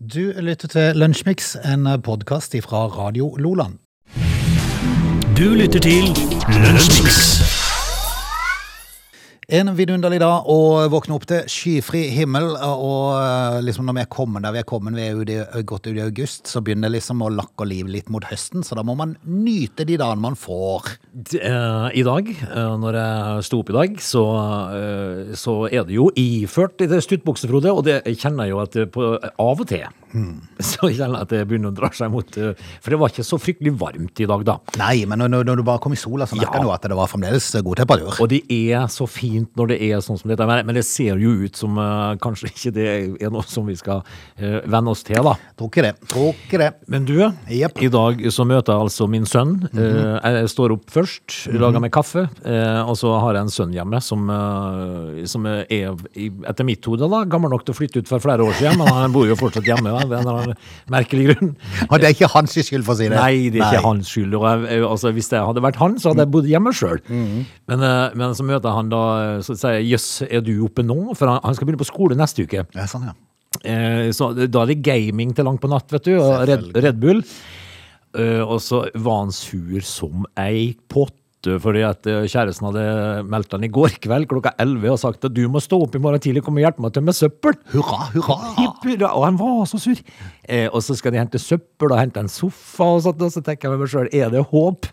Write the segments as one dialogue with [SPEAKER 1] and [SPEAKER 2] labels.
[SPEAKER 1] Du lytter til Lunsjmix, en podkast fra Radio Loland.
[SPEAKER 2] Du lytter til Lunsjmix.
[SPEAKER 1] En vidunderlig dag å våkne opp til. Skyfri himmel. Og eh, liksom når vi er kommet der vi er kommet, vi er jo i- godt ut i august, så begynner det liksom å lakke og liv litt mot høsten. Så da må man nyte de dagene man får.
[SPEAKER 2] D- eh, I dag, eh, når jeg sto opp i dag, så, eh, så er det jo iført i det stuttbukse, Frode, og det kjenner jeg jo at det på, av og til så kjenner jeg at det begynner å dra seg mot eh, For det var ikke så fryktelig varmt i dag, da.
[SPEAKER 1] Nei, men når, når du bare kom i sola, så merka
[SPEAKER 2] Ja.
[SPEAKER 1] du at det var fremdeles eh, god temperatur.
[SPEAKER 2] Og det er så fint når det er sånn som dette, men men det ser jo ut som eh, kanskje ikke det er noe som vi skal eh, venne oss til, da.
[SPEAKER 1] Tror ikke det. Tror ikke det.
[SPEAKER 2] Men du,
[SPEAKER 1] Jepp.
[SPEAKER 2] i dag så møter jeg altså min sønn. Eh, Jeg står opp først, lager meg kaffe, eh, og så har jeg en sønn hjemme som, eh, som er, i- etter mitt hode, da, gammel nok til å flytte ut for flere år siden, men han bor jo fortsatt hjemme da, av en eller annen merkelig grunn.
[SPEAKER 1] Og det er ikke hans skyld, for å si det.
[SPEAKER 2] Nei, det er
[SPEAKER 1] Nei.
[SPEAKER 2] ikke hans skyld. Og jeg, jeg- altså, hvis det hadde vært han, så hadde jeg bodd hjemme sjøl. Men, eh, men så møter jeg han da, så sier jeg jøss, er du oppe nå? For han, han skal begynne på skole neste uke.
[SPEAKER 1] Ja, sånn, ja.
[SPEAKER 2] Eh, så da er det gaming til langt på natt, vet du, og Red, Red Bull. Eh, og så var han sur som ei potte, fordi at eh, kjæresten hadde meldt han i går kveld klokka 11 og sagt at du må stå opp i morgen tidlig, kom og hjelpe meg å tømme søppel.
[SPEAKER 1] Hurra, hurra!
[SPEAKER 2] Hipp hurra, Og han var så sur. Eh, og så skal de hente søppel og hente en sofa, og, sånt, og så tenker jeg med meg sjøl, er det håp?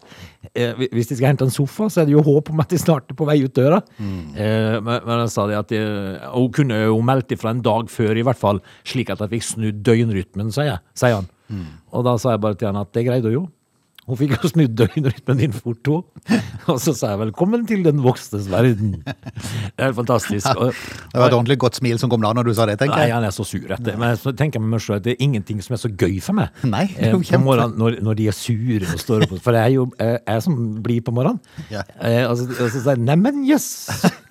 [SPEAKER 2] Eh, hvi- hvis de skal hente en sofa, så er det jo håp om at de snart er på vei ut døra.
[SPEAKER 1] Mm.
[SPEAKER 2] Eh, men, men han sa det at de, og hun kunne jo meldt ifra en dag før, i hvert fall, slik at jeg fikk snudd døgnrytmen, sier, jeg, sier han.
[SPEAKER 1] Mm.
[SPEAKER 2] Og da sa jeg bare til han at det greide hun jo. Hun fikk jo snudd døgnrytmen din fort, hun. Og så sa jeg 'velkommen til den voksnes verden'. Det er helt fantastisk. Og,
[SPEAKER 1] Det var et ordentlig godt smil som kom da når du sa det, tenker
[SPEAKER 2] Nei,
[SPEAKER 1] jeg.
[SPEAKER 2] han er så sur etter. Men så tenker jeg med meg selv at det er ingenting som er så gøy for meg.
[SPEAKER 1] Nei, det er jo
[SPEAKER 2] Eh, på
[SPEAKER 1] kjempe-
[SPEAKER 2] morgenen, når, når de er sure og står opp. For det er jo eh, jeg som blir på morgenen.
[SPEAKER 1] Ja.
[SPEAKER 2] Eh, og, så, og så sier jeg 'neimen, jøss'.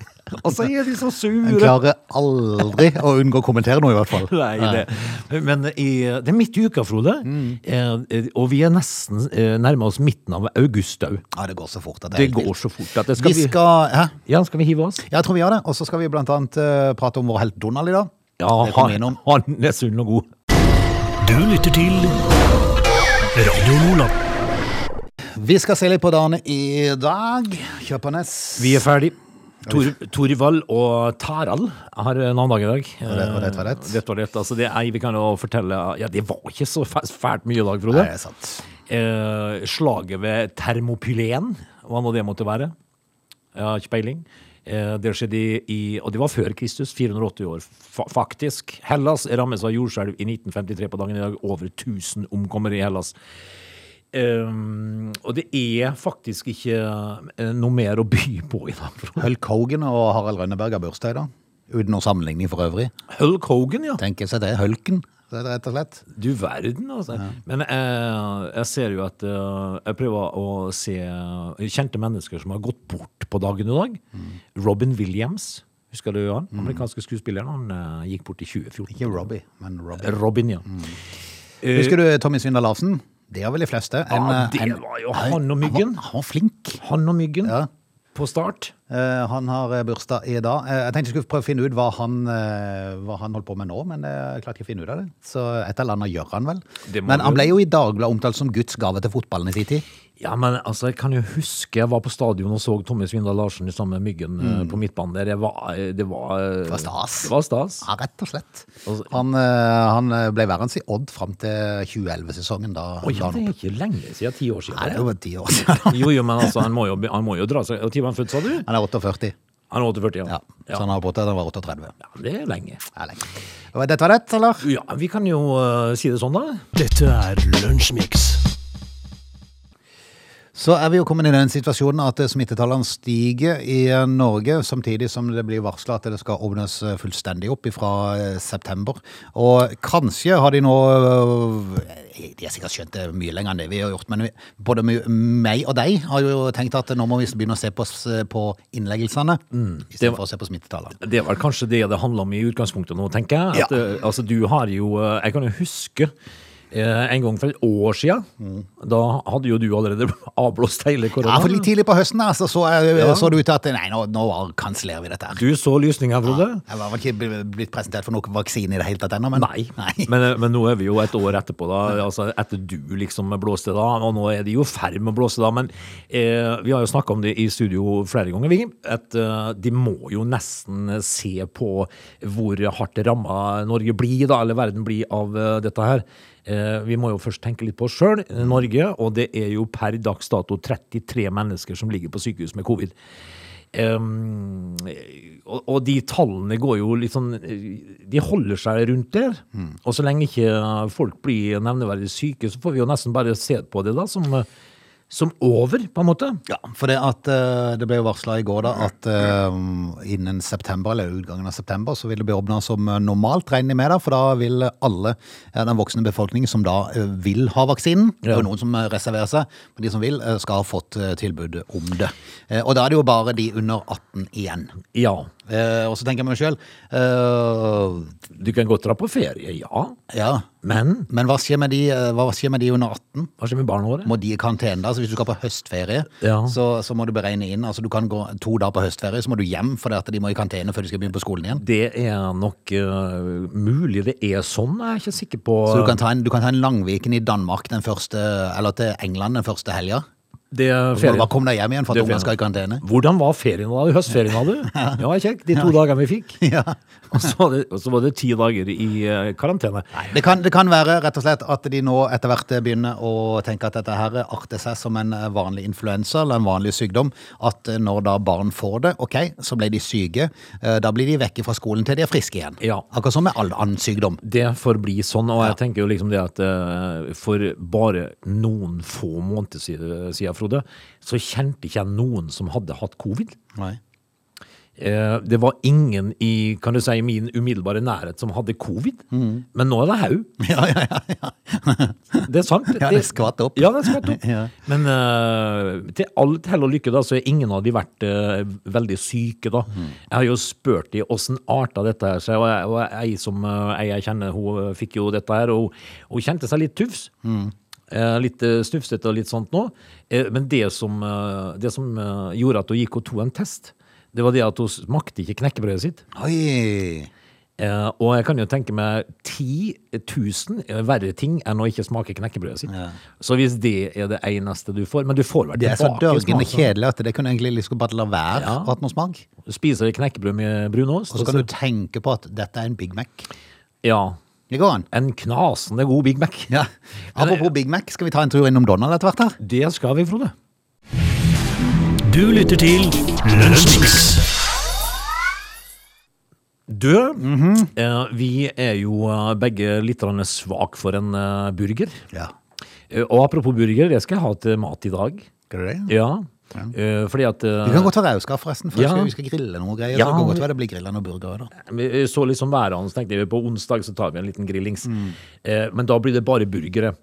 [SPEAKER 2] Og så er de så
[SPEAKER 1] Han
[SPEAKER 2] sure.
[SPEAKER 1] klarer aldri å unngå å kommentere noe, i hvert fall.
[SPEAKER 2] Nei, det. Men i, det er midt i uka, Frode.
[SPEAKER 1] Mm.
[SPEAKER 2] Eh, og vi er nesten eh, nærmer oss midten av august òg.
[SPEAKER 1] Ja, det går så fort at det, er
[SPEAKER 2] Det
[SPEAKER 1] helt
[SPEAKER 2] går
[SPEAKER 1] vilt.
[SPEAKER 2] så fort at
[SPEAKER 1] Vi
[SPEAKER 2] det skal bli
[SPEAKER 1] skal Hæ?
[SPEAKER 2] Ja, skal vi hive oss?
[SPEAKER 1] Jeg tror vi gjør det. Og så skal vi blant annet eh, prate om vår helt Donald i dag.
[SPEAKER 2] Ja,
[SPEAKER 1] det kom vi
[SPEAKER 2] han,
[SPEAKER 1] innom.
[SPEAKER 2] han er sunn og god.
[SPEAKER 3] Du lytter til Radio Nordland.
[SPEAKER 1] Vi skal se litt på dagene i dag. Kjøpernes.
[SPEAKER 2] Vi er ferdig. Tor, Torvald og Tarald har navndag i dag.
[SPEAKER 1] det- og det var rett.
[SPEAKER 2] Eh, Dette var rett. Altså, det er, vi kan jo fortelle Ja, det var ikke så fæ- fælt mye i dag, Frode.
[SPEAKER 1] Nei, det er sant.
[SPEAKER 2] Eh, slaget ved Termopylen, hva nå det måtte være. Jeg har ikke peiling. Eh, det skjedde i, i Og det var før Kristus, 480 år, fa faktisk. Hellas rammes av jordskjelv i 1953 på dagen i dag. Over 1000 omkommer i Hellas. Eh, og det er faktisk ikke eh, noe mer å by på i dag. Frode.
[SPEAKER 1] Hulk Hogan og Harald Rønneberg har bursdag i dag. Uten noen sammenligning for øvrig.
[SPEAKER 2] Hulk Hogan, ja.
[SPEAKER 1] Tenker seg det. Hulken, det er det rett og slett.
[SPEAKER 2] Du verden, altså. Men eh, jeg ser jo at eh, Jeg prøver å se eh, kjente mennesker som har gått bort på dagen i dag.
[SPEAKER 1] Mm.
[SPEAKER 2] Robin Williams, husker du han? Amerikanske skuespilleren. Han eh, gikk bort i 2014.
[SPEAKER 1] Ikke Robbie, men Robbie.
[SPEAKER 2] Robin, ja. Eh,
[SPEAKER 1] Mm. Husker du Tommy Svindal Larsen? Det har vel de fleste.
[SPEAKER 2] ja,
[SPEAKER 1] eh,
[SPEAKER 2] det
[SPEAKER 1] en-
[SPEAKER 2] var jo han og myggen.
[SPEAKER 1] Han, han var flink.
[SPEAKER 2] Han og myggen
[SPEAKER 1] Ja.
[SPEAKER 2] på start.
[SPEAKER 1] Eh, han har eh, bursdag i dag. Eh, jeg tenkte jeg skulle prøve å finne ut hva han, eh, hva han holdt på med nå, men eh, jeg klarte ikke å finne ut av det. Så et eller annet gjør han vel.
[SPEAKER 2] Det må
[SPEAKER 1] Men han
[SPEAKER 2] han
[SPEAKER 1] ble jo i Dagbladet omtalt som Guds gave til fotballen i sin tid.
[SPEAKER 2] Ja, men altså, jeg kan jo huske jeg var på stadion og så Tommy Svindal Larsen i sammen med Myggen eh, på midtbanen der. Jeg var, eh, det var eh,
[SPEAKER 1] Mm. Det var stas.
[SPEAKER 2] Det var stas.
[SPEAKER 1] Ja, rett og slett.
[SPEAKER 2] Altså-
[SPEAKER 1] Han, eh, han ble værende i Odd fram til 2011-sesongen. Da
[SPEAKER 2] Å
[SPEAKER 1] Ah, da
[SPEAKER 2] ja, det
[SPEAKER 1] han opp.
[SPEAKER 2] er ikke lenge siden. Ti år siden.
[SPEAKER 1] Nei, det er jo bare ti år siden.
[SPEAKER 2] Jo, jo, men altså, han må jo, han må jo dra seg Og tid var han født, sa du?
[SPEAKER 1] Han er 48.
[SPEAKER 2] Han er 48,
[SPEAKER 1] Ja. sånn.
[SPEAKER 2] ja.
[SPEAKER 1] Så han har på til han var 38.
[SPEAKER 2] ja det er lenge.
[SPEAKER 1] Det er lenge. Var dette rett, eller?
[SPEAKER 2] Ja, vi kan jo eh, si det sånn, da.
[SPEAKER 3] Dette er Lunsjmix.
[SPEAKER 1] Så er vi jo kommet i den situasjonen at eh, smittetallene stiger i eh, Norge, samtidig som det blir varsla at det skal åpnes eh, fullstendig opp fra september. Og kanskje har de nå eh, De har sikkert skjønt det mye lenger enn det vi har gjort, men vi- både my- meg og deg har jo tenkt at nå må vi begynne å se på, s- eh, på innleggelsene
[SPEAKER 2] Mm. det
[SPEAKER 1] istedenfor å se på smittetallene.
[SPEAKER 2] Det var kanskje det det handla om i utgangspunktet nå, tenker jeg. At,
[SPEAKER 1] Ja.
[SPEAKER 2] eh, altså, du har jo eh, Jeg kan jo huske Eh, en gang for et år siden, da hadde jo du allerede avblåst
[SPEAKER 1] Mm. Ja,
[SPEAKER 2] hele koronaen.
[SPEAKER 1] for litt tidlig på høsten her, så, så, jeg- så det ut til at nei, nå, nå kansellerer vi dette her.
[SPEAKER 2] Du så lysninga, Frode.
[SPEAKER 1] Jeg var vel ikke bl- blitt presentert for noen vaksine i det hele tatt ennå, men
[SPEAKER 2] Nei, Men, men nå er vi jo et år etterpå, da. Altså, etter du liksom blåste da, og nå er de jo i ferd med å blåse da. Men eh, vi har jo snakka om det i studio flere ganger, Viggen, at eh, de må jo nesten se på hvor hardt ramma Norge blir, da, eller verden blir, av eh, dette her. Eh, vi må jo først tenke litt på oss sjøl, Norge, og det er jo per dags dato 33 mennesker som ligger på sykehus med covid. Um, og, og de tallene går jo litt sånn De holder seg rundt der.
[SPEAKER 1] Mm.
[SPEAKER 2] Og så lenge ikke folk blir nevneverdig syke, så får vi jo nesten bare se på det da som, som over, på en måte.
[SPEAKER 1] Ja, for det, at, eh, det ble jo varsla i går da, at eh, innen september, eller utgangen av september så vil det bli åpna som eh, normalt, regner jeg med. da, For da vil alle eh, den voksne befolkningen som da eh, vil ha vaksinen, det er
[SPEAKER 2] Ja.
[SPEAKER 1] jo noen som eh, reserverer seg, men de som vil, eh, skal ha fått eh, tilbud om det. Eh, Og da er det jo bare de under 18 igjen.
[SPEAKER 2] Ja.
[SPEAKER 1] Eh, Og så tenker jeg meg sjøl
[SPEAKER 2] Du kan godt dra på ferie, ja.
[SPEAKER 1] Ja,
[SPEAKER 2] Men
[SPEAKER 1] men hva skjer med de, eh, hva skjer med de under 18?
[SPEAKER 2] hva skjer med barna våre?
[SPEAKER 1] må de i karantene da, så hvis du skal på høstferie,
[SPEAKER 2] Ja.
[SPEAKER 1] så, så må du beregne inn, altså du kan gå to dager på høstferie, så må du hjem, for det at de må i karantene før de skal begynne på skolen igjen.
[SPEAKER 2] Det er nok eh, mulig det er sånn. Jeg er ikke sikker på
[SPEAKER 1] Så du kan, ta en, du kan ta en langviken i Danmark den første, eller til England den første helga.
[SPEAKER 2] det er
[SPEAKER 1] Så må du
[SPEAKER 2] ferie.
[SPEAKER 1] bare komme deg hjem igjen for
[SPEAKER 2] Det
[SPEAKER 1] at ungene
[SPEAKER 2] er ferien.
[SPEAKER 1] skal i karantene.
[SPEAKER 2] Hvordan var ferien da? Høstferien hadde du? Ja, kjekk. De to dagene vi fikk.
[SPEAKER 1] Ja.
[SPEAKER 2] Og så var det, og så var det ti dager i eh, karantene.
[SPEAKER 1] Det kan, det kan være rett og slett at de nå etter hvert begynner å tenke at dette her arter seg som en vanlig influensa eller en vanlig sykdom. At eh, når da barn får det, ok, så ble de syke. eh, Da blir de vekke fra skolen til de er friske igjen.
[SPEAKER 2] Ja.
[SPEAKER 1] Akkurat som med all annen sykdom.
[SPEAKER 2] Det får bli sånn, og jeg tenker jo liksom det at eh, for bare noen få måneder siden, siden, Frode, så kjente ikke jeg noen som hadde hatt covid.
[SPEAKER 1] Nei.
[SPEAKER 2] Eh, Det var ingen i kan du si, min umiddelbare nærhet som hadde covid, men nå er det haug.
[SPEAKER 1] Ja, ja, ja.
[SPEAKER 2] Det er sant.
[SPEAKER 1] Ja, det skvatt opp.
[SPEAKER 2] Ja, det skvatt opp.
[SPEAKER 1] Ja.
[SPEAKER 2] Men eh, til alt hell og lykke da, så er ingen av de vært eh, veldig syke da.
[SPEAKER 1] Mm.
[SPEAKER 2] Jeg har jo spurt de hvordan arta dette her, seg, og, jeg, og jeg som eh, jeg, jeg kjenner, hun eh, fikk jo dette her, og hun kjente seg litt tufs.
[SPEAKER 1] Mm.
[SPEAKER 2] Eh, Litt eh, snufsete og litt sånt nå. Eh, Men det som, eh, det som eh, gjorde at hun gikk og tok en test, det var det at hun smakte ikke knekkebrødet sitt.
[SPEAKER 1] Oi!
[SPEAKER 2] Eh, og jeg kan jo tenke meg 10 000 verre ting enn å ikke smake knekkebrødet sitt. Så hvis det er det eneste du får Men du får vel
[SPEAKER 1] Det er så
[SPEAKER 2] tilbake
[SPEAKER 1] dørgende
[SPEAKER 2] smaken.
[SPEAKER 1] kjedelig at det kunne egentlig liksom bare la være
[SPEAKER 2] Ja.
[SPEAKER 1] å ha noe smak.
[SPEAKER 2] Du Spiser knekkebrød med brunost.
[SPEAKER 1] Og så kan du tenke på at dette er en Big Mac.
[SPEAKER 2] Ja.
[SPEAKER 1] Det går an.
[SPEAKER 2] En knasende god Big Mac.
[SPEAKER 1] Ja. Apropos Big Mac, skal vi ta en tur innom Donald etter hvert her?
[SPEAKER 2] Det skal vi, Frode.
[SPEAKER 3] Du lytter til Lunsjmix.
[SPEAKER 2] Du,
[SPEAKER 1] Mhm.
[SPEAKER 2] eh, vi er jo eh, begge litt grann svak for en eh, burger.
[SPEAKER 1] Ja.
[SPEAKER 2] Eh, og apropos burger, det skal jeg ha til mat i dag.
[SPEAKER 1] Skal du det?
[SPEAKER 2] Ja. Eh, fordi at eh,
[SPEAKER 1] Du kan godt være rauskaff, forresten, for
[SPEAKER 2] Ja.
[SPEAKER 1] vi skal grille noe greier.
[SPEAKER 2] Ja,
[SPEAKER 1] så det kan godt
[SPEAKER 2] vi-
[SPEAKER 1] være det blir grilla noen burgere. da.
[SPEAKER 2] Vi så liksom været hans, tenkte jeg på onsdag så tar vi en liten grillings. Eh, men da blir det bare burgere.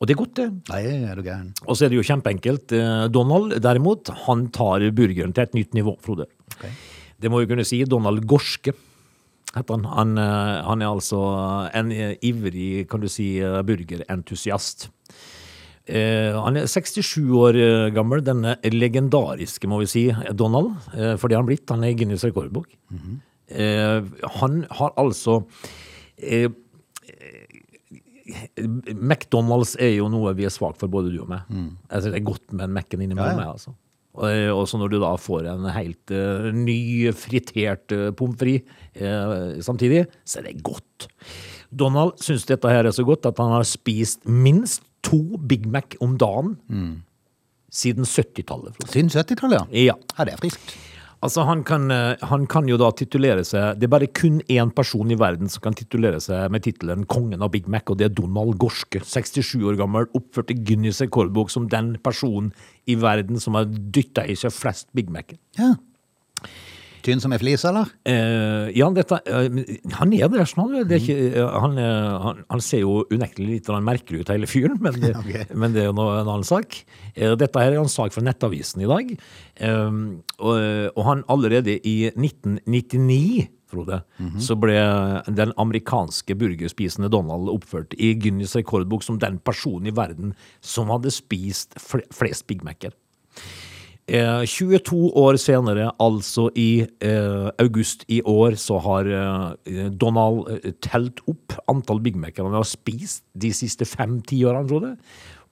[SPEAKER 2] Og det er godt, det.
[SPEAKER 1] Nei, er du gæren.
[SPEAKER 2] Og så er det jo kjempeenkelt. Eh, Donald derimot, han tar burgeren til et nytt nivå, Frode.
[SPEAKER 1] Ok.
[SPEAKER 2] Det må vi kunne si. Donald Gorske heter han. Han, eh, han er altså en eh, ivrig, kan du si, eh, burgerentusiast. Eh, han er 67 år eh, gammel, denne legendariske, må vi si, Donald. Eh, for det har han blitt. Han er i Guinness rekordbok. eh, han har altså eh, eh, McDonald's er jo noe vi er svak for, både du og meg. Altså, det er godt med en Mac-en
[SPEAKER 1] Mm.
[SPEAKER 2] innimellom.
[SPEAKER 1] Ja, ja.
[SPEAKER 2] jeg, Altså. Og, eh, og så når du da får en helt eh, ny, fritert eh, pommes frites eh, samtidig, så er det godt. Donald syns dette her er så godt at han har spist minst to Big Mac om dagen
[SPEAKER 1] Mm.
[SPEAKER 2] siden 70-tallet. Frode.
[SPEAKER 1] Siden 70-tallet, ja.
[SPEAKER 2] Ja.
[SPEAKER 1] Ja, det er friskt.
[SPEAKER 2] Altså, han kan, eh, han kan jo da titulere seg Det er bare kun én person i verden som kan titulere seg med tittelen 'Kongen av Big Mac', og det er Donald Gorske. 67 år gammel, oppført i Guinness rekordbok som den personen i verden som har dytta i seg flest Big Mac-er.
[SPEAKER 1] Ja. Tynn som ei flis, eller?
[SPEAKER 2] Eh, ja, dette, eh, men han er der sånn. han, Det er ikke, eh, han, eh, han, han ser jo unektelig litt grann merkelig ut, hele fyren, men, det-
[SPEAKER 1] Ok.
[SPEAKER 2] men det er jo nå en annen sak. Eh, dette her er en sak fra Ehm, Nettavisen i dag. Eh, og, og han allerede i 1999 Frode, så ble den amerikanske burgerspisende Donald oppført i Guinness rekordbok som den personen i verden som hadde spist fl flest Big Mac-er. Eh, 22 år senere, altså i eh, august i år, så har eh, Donald eh, telt opp antall Big Mac-er han har spist de siste fem-ti årene, Frode.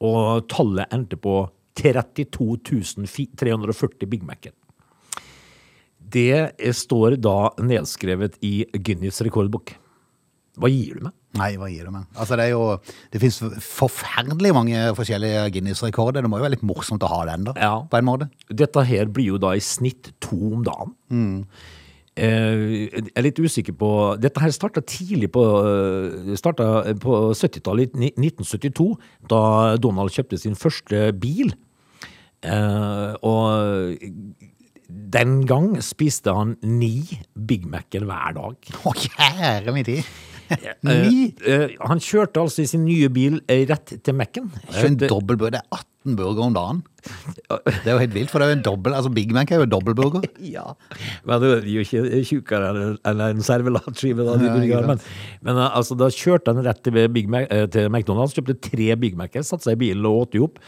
[SPEAKER 2] Og tallet endte på 32 340 Big Mac-er. Det eh, står da nedskrevet i Guinness rekordbok. Hva gir du meg?
[SPEAKER 1] Nei, hva gir du meg? Altså, det er jo Det fins forferdelig mange forskjellige Guinness-rekorder. Det må jo være litt morsomt å ha den, da.
[SPEAKER 2] Ja.
[SPEAKER 1] På en måte.
[SPEAKER 2] Dette her blir jo da i snitt to om dagen. Eh, Jeg er litt usikker på Dette her starta tidlig på eh, startet på 70-tallet, i ni- 1972, da Donald kjøpte sin første bil. Eh, Og den gang spiste han ni Big Mac-er hver dag.
[SPEAKER 1] Å, kjære min tid! Ni?
[SPEAKER 2] Eh, Han kjørte altså i sin nye bil eh, rett til Mac-en.
[SPEAKER 1] Det er jo en dobbel burger. Det er 18 burger om dagen. Det er jo helt vilt, for det er jo en dobbel Altså, Big Mac er jo en dobbel burger.
[SPEAKER 2] Ja, men det er jo ikke tjukkere enn enn en servelatskive. da, de
[SPEAKER 1] Ja, ikke
[SPEAKER 2] burgerne, Men, men eh, altså, da kjørte han rett til, Big Mac, eh, til McDonald's, kjøpte tre Big Mac-er, satte seg i bilen og åt de opp.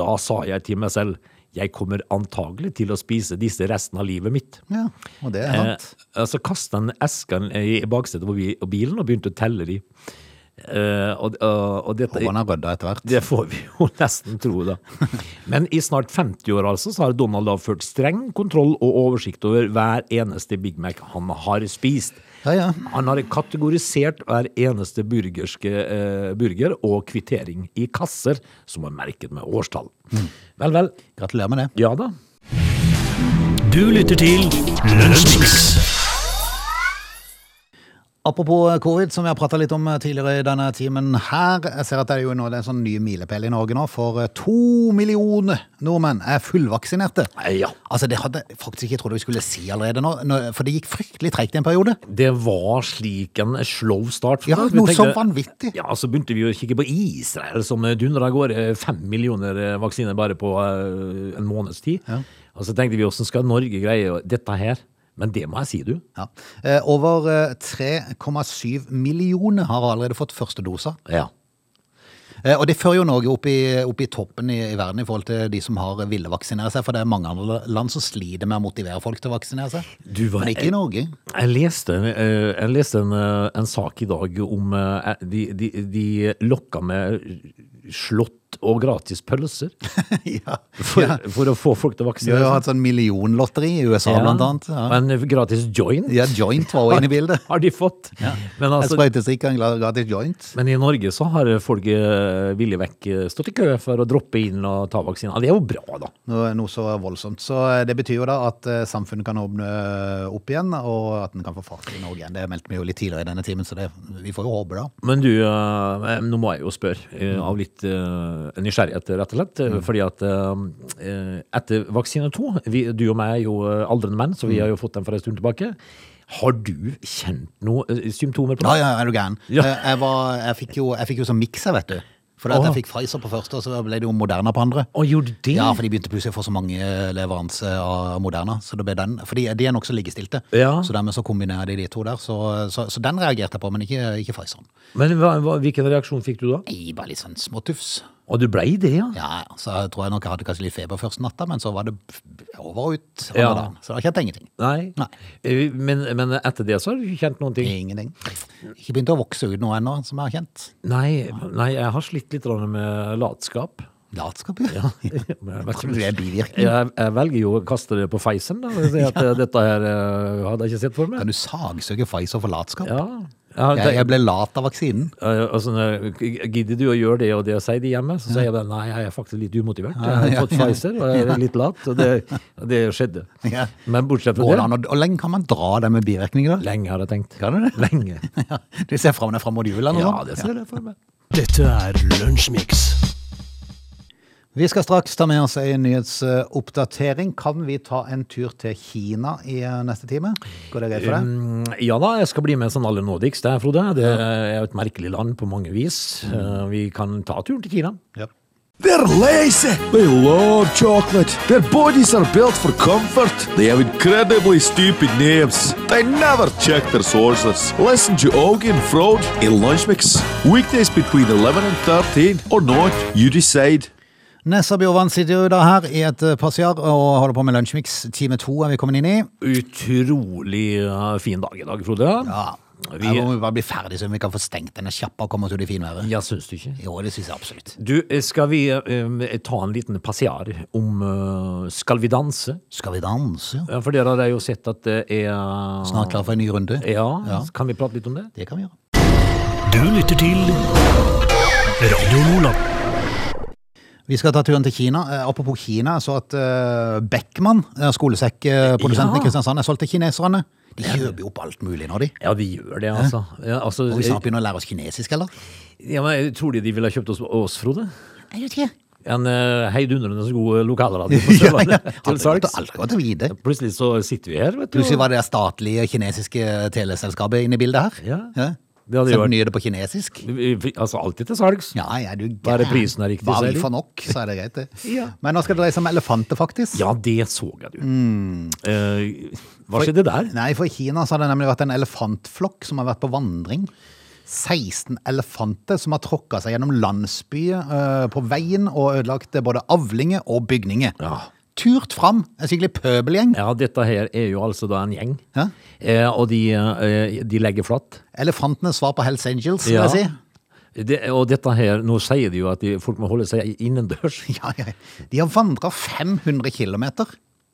[SPEAKER 2] Da sa jeg til meg selv jeg kommer antagelig til å spise disse resten av livet mitt.
[SPEAKER 1] Ja, og det er sant.
[SPEAKER 2] Eh, så kastet han esken i baksetet på bi- bilen og begynte å telle de. Eh, og, og, og dette,
[SPEAKER 1] Håper han har rydda etter hvert.
[SPEAKER 2] det får vi jo nesten tro, da. Men i snart 50 år altså, så har Donald da ført streng kontroll og oversikt over hver eneste Big Mac han har spist.
[SPEAKER 1] Ja, ja.
[SPEAKER 2] Han har kategorisert hver eneste burgerske eh, burger og kvittering i kasser som er merket med årstall.
[SPEAKER 1] Mm.
[SPEAKER 2] Vel, vel.
[SPEAKER 1] Gratulerer med det.
[SPEAKER 2] Ja da.
[SPEAKER 3] Du lytter til Lunsjmix.
[SPEAKER 1] Apropos eh, covid, som vi har prata litt om eh, tidligere i denne timen her. Jeg ser at det er jo nå det er en sånn ny milepæl i Norge nå, for eh, to millioner nordmenn er fullvaksinerte.
[SPEAKER 2] Ja.
[SPEAKER 1] Altså, Det hadde jeg faktisk ikke trodd vi skulle si allerede nå, nå- for det gikk fryktelig tregt i en periode.
[SPEAKER 2] Det var slik en slow start. for
[SPEAKER 1] Ja,
[SPEAKER 2] oss. Vi
[SPEAKER 1] noe så
[SPEAKER 2] tenkte-
[SPEAKER 1] vanvittig.
[SPEAKER 2] Ja, så begynte vi å kikke på Israel, som dundra av gårde fem millioner eh, vaksiner bare på eh, en måneds tid. Og så tenkte vi, hvordan skal Norge greie å- dette her? Men det må jeg si, du.
[SPEAKER 1] Ja. Eh, Over eh, 3,7 millioner har allerede fått første dosa.
[SPEAKER 2] Ja.
[SPEAKER 1] Eh, Og det fører jo Norge opp i, opp i toppen i, i verden i forhold til de som har eh, ville vaksinere seg, for det er mange andre land som sliter med å motivere folk til å vaksinere seg.
[SPEAKER 2] Du var-
[SPEAKER 1] Men ikke i Norge.
[SPEAKER 2] Jeg leste, eh, jeg leste en, eh, en sak i dag om eh, de, de, de lokka med slått og gratis pølser
[SPEAKER 1] ja.
[SPEAKER 2] for, for å få folk
[SPEAKER 1] Vi har jo
[SPEAKER 2] til å vaksinere
[SPEAKER 1] hatt sånn millionlotteri i USA blant annet.
[SPEAKER 2] Ja.
[SPEAKER 1] Ja.
[SPEAKER 2] Og en gratis joint
[SPEAKER 1] ja, joint var jo inne i bildet.
[SPEAKER 2] har de fått. Men
[SPEAKER 1] En
[SPEAKER 2] altså,
[SPEAKER 1] sprøytestikk og en gla- gratis joint.
[SPEAKER 2] Men i Norge så har folk eh, villig vekk eh, stått i kø for å droppe inn og ta vaksinen. Ja, Det er jo bra, da.
[SPEAKER 1] Noe, noe så voldsomt. Så eh, det betyr jo da at eh, samfunnet kan åpne eh, opp igjen, og at en kan få fart i Norge igjen. Det meldte vi jo litt tidligere i denne timen, så det, vi får jo håpe da.
[SPEAKER 2] Men du, eh, nå må jeg jo spørre eh, av litt eh, nysgjerrighet, rett og slett. eh,
[SPEAKER 1] Mm.
[SPEAKER 2] Fordi at eh, eh, etter vaksine to, vi, du og meg er jo eh, aldrende menn, så vi
[SPEAKER 1] Mm.
[SPEAKER 2] har jo fått den for en stund tilbake. Har du kjent noen eh, symptomer på
[SPEAKER 1] Ja,
[SPEAKER 2] det?
[SPEAKER 1] ja, er du gæren.
[SPEAKER 2] Ja.
[SPEAKER 1] Eh, Jeg, var, jeg, fikk jo, jeg fikk jo sånn mikser, vet du. For at
[SPEAKER 2] Åh.
[SPEAKER 1] jeg fikk Pfizer på første, og så ble det jo Moderna på andre.
[SPEAKER 2] Å, gjorde det?
[SPEAKER 1] Ja, for de begynte plutselig å få så mange eh, leveranser av Moderna. Så det ble den, for de, de er nokså likestilte.
[SPEAKER 2] Ja.
[SPEAKER 1] Så dermed så kombinerer de de to der. Så, så, så den reagerte jeg på, men ikke, ikke Pfizeren.
[SPEAKER 2] Men hva, hva, hvilken reaksjon fikk du da?
[SPEAKER 1] Nei, bare litt sånn småtufs.
[SPEAKER 2] Å, du blei det, ja?
[SPEAKER 1] Ja, ja, så jeg tror jeg nok jeg hadde kanskje litt feber første natta, men så var det over og ut.
[SPEAKER 2] Ja.
[SPEAKER 1] Ja. Så da kjente jeg ingenting.
[SPEAKER 2] Nei.
[SPEAKER 1] Nei.
[SPEAKER 2] Eh, Men, men etter det så har du ikke kjent noen ting?
[SPEAKER 1] Ingenting. Ikke begynt å vokse ut noe ennå, som jeg har kjent.
[SPEAKER 2] Nei, nei, jeg har slitt litt grann med latskap.
[SPEAKER 1] Latskap, ja.
[SPEAKER 2] Men jeg
[SPEAKER 1] Tror
[SPEAKER 2] vet
[SPEAKER 1] du
[SPEAKER 2] ikke-
[SPEAKER 1] det er bivirkning?
[SPEAKER 2] Jeg, jeg velger jo å kaste det på feisen, da. Og si at eh, dette her eh, hadde jeg ikke sett for meg.
[SPEAKER 1] Kan du sagsøke Pfizer for latskap?
[SPEAKER 2] Ja. Jeg, har
[SPEAKER 1] Jeg, jeg
[SPEAKER 2] tenkt-
[SPEAKER 1] ble lat av vaksinen.
[SPEAKER 2] eh, altså, når jeg- gidder du å gjøre det og det, sier de hjemme. Så sier jeg bare nei, jeg er faktisk litt umotivert. Jeg har
[SPEAKER 1] Ja,
[SPEAKER 2] fått Pfizer og jeg er litt lat, og det, og det skjedde.
[SPEAKER 1] Ja.
[SPEAKER 2] Men bortsett
[SPEAKER 1] Går det
[SPEAKER 2] fra det,
[SPEAKER 1] an å- Hvor lenge kan man dra det med bivirkninger, da?
[SPEAKER 2] lenge har jeg tenkt.
[SPEAKER 1] Kan du det?
[SPEAKER 2] Lenge.
[SPEAKER 1] Ja. Du ser fram deg fram mot jul? eller noe
[SPEAKER 2] Ja,
[SPEAKER 1] sånt?
[SPEAKER 2] det ser jeg for meg.
[SPEAKER 3] Dette er Lunsjmix.
[SPEAKER 1] Vi skal straks ta med oss en nyhetsoppdatering. Kan vi ta en tur til Kina i eh, neste time? Går det greit for deg?
[SPEAKER 2] Mm, Ja da, jeg skal bli med sånn alle nådigst, det, Frode. Det er jo et merkelig land på mange vis. Eh, Vi kan ta turen til Kina.
[SPEAKER 1] Ja.
[SPEAKER 4] They're lazy. They love chocolate. Their bodies are built for comfort. They have incredibly stupid names. They never check their sources. Listen to Augie and Frode in Lunch Mix. Weekdays between 11 and 13 or not, you decide.
[SPEAKER 1] Nessa Bjørvann sitter jo da her i et eh, passiar og holder på med Lunsjmix. Time to er vi kommet inn i.
[SPEAKER 2] Utrolig eh, fin dag i dag, Frode.
[SPEAKER 1] Ja,
[SPEAKER 2] Vi-
[SPEAKER 1] Her må vi bare bli ferdig, så vi kan få stengt denne kjappa og komme oss ut i finværet.
[SPEAKER 2] Ja, syns du ikke?
[SPEAKER 1] Jo, det syns jeg absolutt.
[SPEAKER 2] Du, eh, skal vi eh, ta en liten passiar om eh, Skal vi danse?
[SPEAKER 1] Skal vi danse?
[SPEAKER 2] Ja, For dere har jo sett at det er
[SPEAKER 1] Snart klar for en ny runde?
[SPEAKER 2] Ja,
[SPEAKER 1] Ja.
[SPEAKER 2] kan vi prate litt om det?
[SPEAKER 1] Det kan vi gjøre.
[SPEAKER 3] Du lytter til Radio Lola.
[SPEAKER 1] Vi skal ta turen til Kina. Eh, apropos Kina, så at eh, Beckman, eh, skolesekkprodusenten
[SPEAKER 2] Ja.
[SPEAKER 1] i Kristiansand, er solgt til kineserne. De kjøper jo opp alt mulig nå, de.
[SPEAKER 2] Ja, de gjør det, altså. Ja, altså
[SPEAKER 1] Og vi snart begynner å lære oss kinesisk, eller?
[SPEAKER 2] ja, men, tror de de ville ha kjøpt oss, oss Frode?
[SPEAKER 1] Jeg vet ikke.
[SPEAKER 2] En eh, heidundrende så god lokalradio på Sørlandet til
[SPEAKER 1] Aldri godt-
[SPEAKER 2] salgs.
[SPEAKER 1] aldri godt å vite.
[SPEAKER 2] Plutselig så sitter vi her, vet du.
[SPEAKER 1] Plutselig var det statlige kinesiske teleselskapet inne i bildet her.
[SPEAKER 2] Ja. Det hadde
[SPEAKER 1] Sendte
[SPEAKER 2] vært-
[SPEAKER 1] nyheter på kinesisk.
[SPEAKER 2] Vi- vi- Altså alltid til salgs.
[SPEAKER 1] Ja, ja, du
[SPEAKER 2] Bare
[SPEAKER 1] gæren.
[SPEAKER 2] prisen er riktig,
[SPEAKER 1] Bare
[SPEAKER 2] sier
[SPEAKER 1] vi
[SPEAKER 2] de.
[SPEAKER 1] får nok, så er det greit, det.
[SPEAKER 2] Ja.
[SPEAKER 1] Men nå skal det dreie seg om elefanter, faktisk.
[SPEAKER 2] Ja, det så jeg, du. Eh, hva skjedde der?
[SPEAKER 1] Nei, for i Kina så har det nemlig vært en elefantflokk som har vært på vandring. 16 elefanter som har tråkka seg gjennom landsbyer eh, på veien og ødelagt eh, både avlinger og bygninger.
[SPEAKER 2] Ja.
[SPEAKER 1] Turt fram. En skikkelig pøbelgjeng.
[SPEAKER 2] Ja, dette her er jo altså da en gjeng.
[SPEAKER 1] Ja.
[SPEAKER 2] Eh, og de, eh, de legger flatt.
[SPEAKER 1] Elefantenes svar på Hells Angels, vil
[SPEAKER 2] Ja.
[SPEAKER 1] jeg si.
[SPEAKER 2] Det, og dette her, nå sier de jo at de, folk må holde seg innendørs.
[SPEAKER 1] Ja, ja. De har vandra 500 km.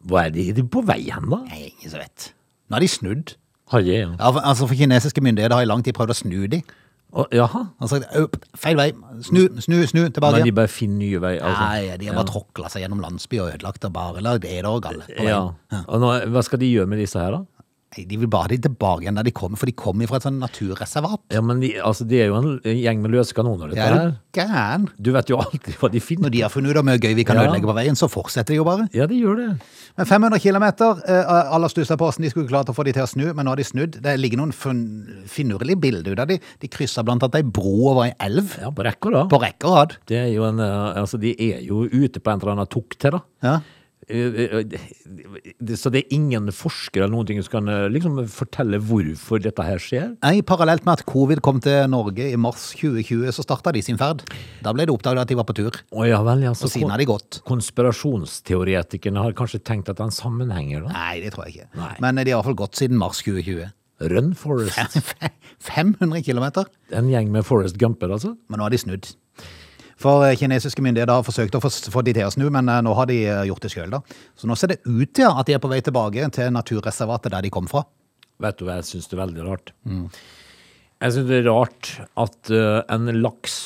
[SPEAKER 2] Hva er de, er de på vei hen, da?
[SPEAKER 1] Nei, ingen som vet. Nå har de snudd.
[SPEAKER 2] Har de, ja.
[SPEAKER 1] Ja, for, altså For kinesiske myndigheter har i lang tid prøvd å snu de.
[SPEAKER 2] Å, Jaha.
[SPEAKER 1] Han har sagt «Øp, feil vei, snu, snu, snu, tilbake.
[SPEAKER 2] Men de
[SPEAKER 1] igjen».
[SPEAKER 2] bare finner nye veier. Altså.
[SPEAKER 1] Nei, de har bare tråkla seg gjennom landsby og ødelagt og bare lagd eder og galle. på veien.
[SPEAKER 2] Ja. Og nå, hva skal de gjøre med disse her, da?
[SPEAKER 1] Nei, de vil bare ha de tilbake igjen der de kom, for de kom fra et sånn naturreservat.
[SPEAKER 2] Ja, men de, altså, de er jo en gjeng med løse kanoner, dette
[SPEAKER 1] Det er
[SPEAKER 2] her.
[SPEAKER 1] du gæren.
[SPEAKER 2] Du vet jo alltid hva de finner.
[SPEAKER 1] Når de har funnet ut av mye gøy vi kan
[SPEAKER 2] Ja.
[SPEAKER 1] ødelegge på veien, så fortsetter de jo bare.
[SPEAKER 2] Ja, de gjør det.
[SPEAKER 1] Men 500 km, eh, alle stussa på åssen de skulle klart å få de til å snu, men nå har de snudd. Det ligger noen fin- finurlige bilder ut av de. De kryssa blant annet ei bro over ei elv.
[SPEAKER 2] Ja, på rekke og rad.
[SPEAKER 1] På rekke og rad.
[SPEAKER 2] Det er jo en, eh, altså, de er jo ute på en eller annen tukt her, da.
[SPEAKER 1] Ja.
[SPEAKER 2] Eh, eh, det- Så det er ingen forskere eller noen ting som kan eh, liksom fortelle hvorfor dette her skjer?
[SPEAKER 1] Nei, parallelt med at covid kom til Norge i mars 2020, så starta de sin ferd. Da ble det oppdaget at de var på tur,
[SPEAKER 2] Å ja vel, ja. Så
[SPEAKER 1] og siden har de gått.
[SPEAKER 2] kon- konspirasjonsteoretikerne har kanskje tenkt at det er en sammenhenger, da.
[SPEAKER 1] Nei, det tror jeg ikke.
[SPEAKER 2] Nei.
[SPEAKER 1] Men de har i hvert fall gått siden mars 2020.
[SPEAKER 2] Run Forest.
[SPEAKER 1] 500 kilometer,
[SPEAKER 2] En gjeng med Forest Gumper, altså?
[SPEAKER 1] men nå har de snudd. For eh, kinesiske myndigheter har forsøkt å få få de til å snu, men eh, nå har de eh, gjort det sjøl, da. Så nå ser det ut til at de er på vei tilbake til naturreservatet der de kom fra.
[SPEAKER 2] Vet du hva jeg syns det er veldig rart? Jeg syns det er rart at eh, en laks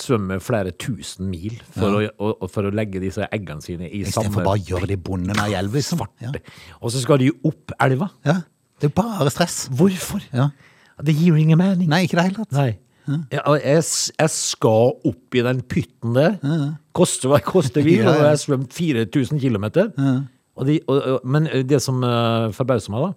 [SPEAKER 2] svømmer flere tusen mil for, å, å, for å legge disse eggene sine i samme
[SPEAKER 1] Istedenfor bare å gjøre det i bunnen av elva. liksom. Ja.
[SPEAKER 2] Og så skal de opp elva.
[SPEAKER 1] ja. Det er bare stress.
[SPEAKER 2] Hvorfor?
[SPEAKER 1] Ja.
[SPEAKER 2] Det gir jo ingen mening.
[SPEAKER 1] Nei, ikke i det hele tatt.
[SPEAKER 2] Nei. Ja, og jeg, s- jeg skal opp i den pytten der. Koste hva det koste vil.
[SPEAKER 1] Ja,
[SPEAKER 2] Og
[SPEAKER 1] ja.
[SPEAKER 2] jeg har svømt 4000 km. Og de, og, og, men det som eh, forbauser meg, da,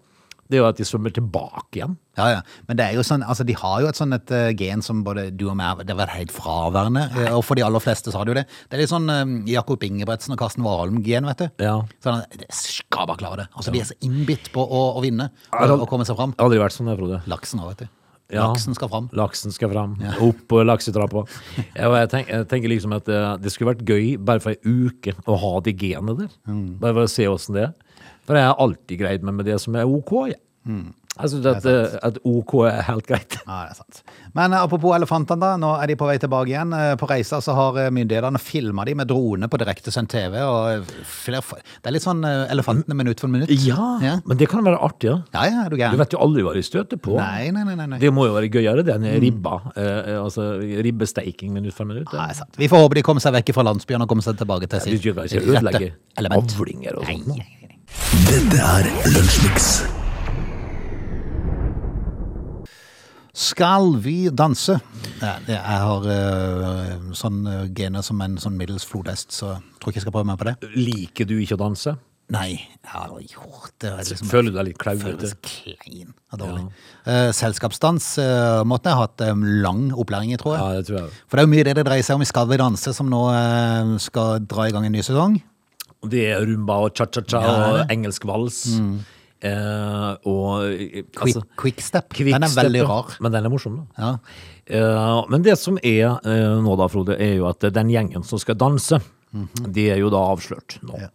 [SPEAKER 2] det er jo at de svømmer tilbake igjen.
[SPEAKER 1] Ja, ja. Men det er jo sånn, altså, de har jo et sånn et eh, gen som både du og meg Det har vært helt fraværende. eh, Og for de aller fleste så har de jo det. Det er litt sånn eh, Jakob Ingebretsen og Karsten Warholm-gen, vet du.
[SPEAKER 2] Ja.
[SPEAKER 1] Sånn, at de skal bare klare det. Altså, De er så innbitt på å, å vinne og,
[SPEAKER 2] Harald-
[SPEAKER 1] og komme seg fram.
[SPEAKER 2] Det har aldri vært sånn, det, Frode.
[SPEAKER 1] Laksen òg, vet du.
[SPEAKER 2] Ja.
[SPEAKER 1] Laksen skal fram.
[SPEAKER 2] Laksen skal fram. Opp på laksetrappa. Ja, og jeg, tenk, jeg tenker liksom at eh, det skulle vært gøy bare for ei uke å ha det genet der.
[SPEAKER 1] Mm.
[SPEAKER 2] Bare for å se åssen det er. For jeg har alltid greid meg med det som er OK. Jeg,
[SPEAKER 1] Mm.
[SPEAKER 2] jeg syns at, eh, at OK er helt greit.
[SPEAKER 1] Ja, det er sant. Men eh, apropos elefantene, da. Nå er de på vei tilbake igjen. Eh, På reisa så har eh, myndighetene filma de med drone på direktesendt TV. og eh, flere, Det er litt sånn eh, elefantene minutt for minutt. Ja,
[SPEAKER 2] men det kan være artig. da.
[SPEAKER 1] ja, ja er du
[SPEAKER 2] Du
[SPEAKER 1] gæren?
[SPEAKER 2] vet jo aldri hva de støter på.
[SPEAKER 1] Nei, Mm. nei, nei. nei, nei.
[SPEAKER 2] Det må jo være gøyere, den ribba. Eh, altså ribbesteiking minutt for minutt.
[SPEAKER 1] Nei, sant. Vi får håpe de kommer seg vekk fra landsbyen og kommer seg tilbake til
[SPEAKER 2] Du
[SPEAKER 1] sitt
[SPEAKER 2] skal ikke ødelegge
[SPEAKER 1] element.
[SPEAKER 2] avlinger og sånn.
[SPEAKER 1] Nei,
[SPEAKER 2] sånt.
[SPEAKER 1] nei, nei.
[SPEAKER 4] Dette er Lunsjmix.
[SPEAKER 1] Skal vi danse? Ja, det- jeg har eh, sånn eh, gener som en sånn middels flodhest, så jeg tror ikke jeg skal prøve meg på det.
[SPEAKER 2] Liker du ikke å danse?
[SPEAKER 1] Nei, jeg har aldri gjort det. Jeg liksom-
[SPEAKER 2] Føler du deg litt
[SPEAKER 1] Føles
[SPEAKER 2] klauete?
[SPEAKER 1] klein og dårlig. Eh, Selskapsdans eh, måtte jeg hatt eh, lang opplæring i, tror jeg.
[SPEAKER 2] Ja, det tror jeg.
[SPEAKER 1] For det er jo mye det det dreier seg om i Skal vi danse, som nå eh, skal dra i gang en ny sesong.
[SPEAKER 2] Det er rumba og cha-cha-cha
[SPEAKER 1] Ja, det er det.
[SPEAKER 2] og engelsk vals. Eh, og eh,
[SPEAKER 1] Quick,
[SPEAKER 2] altså,
[SPEAKER 1] quickstep.
[SPEAKER 2] Quickstep,
[SPEAKER 1] Den er veldig
[SPEAKER 2] ja.
[SPEAKER 1] rar.
[SPEAKER 2] Men den er morsom, da.
[SPEAKER 1] Ja.
[SPEAKER 2] Eh, men det som er eh, nå, da, Frode, er jo at den gjengen som skal danse, de er jo da avslørt nå.
[SPEAKER 1] Mhm. Ja.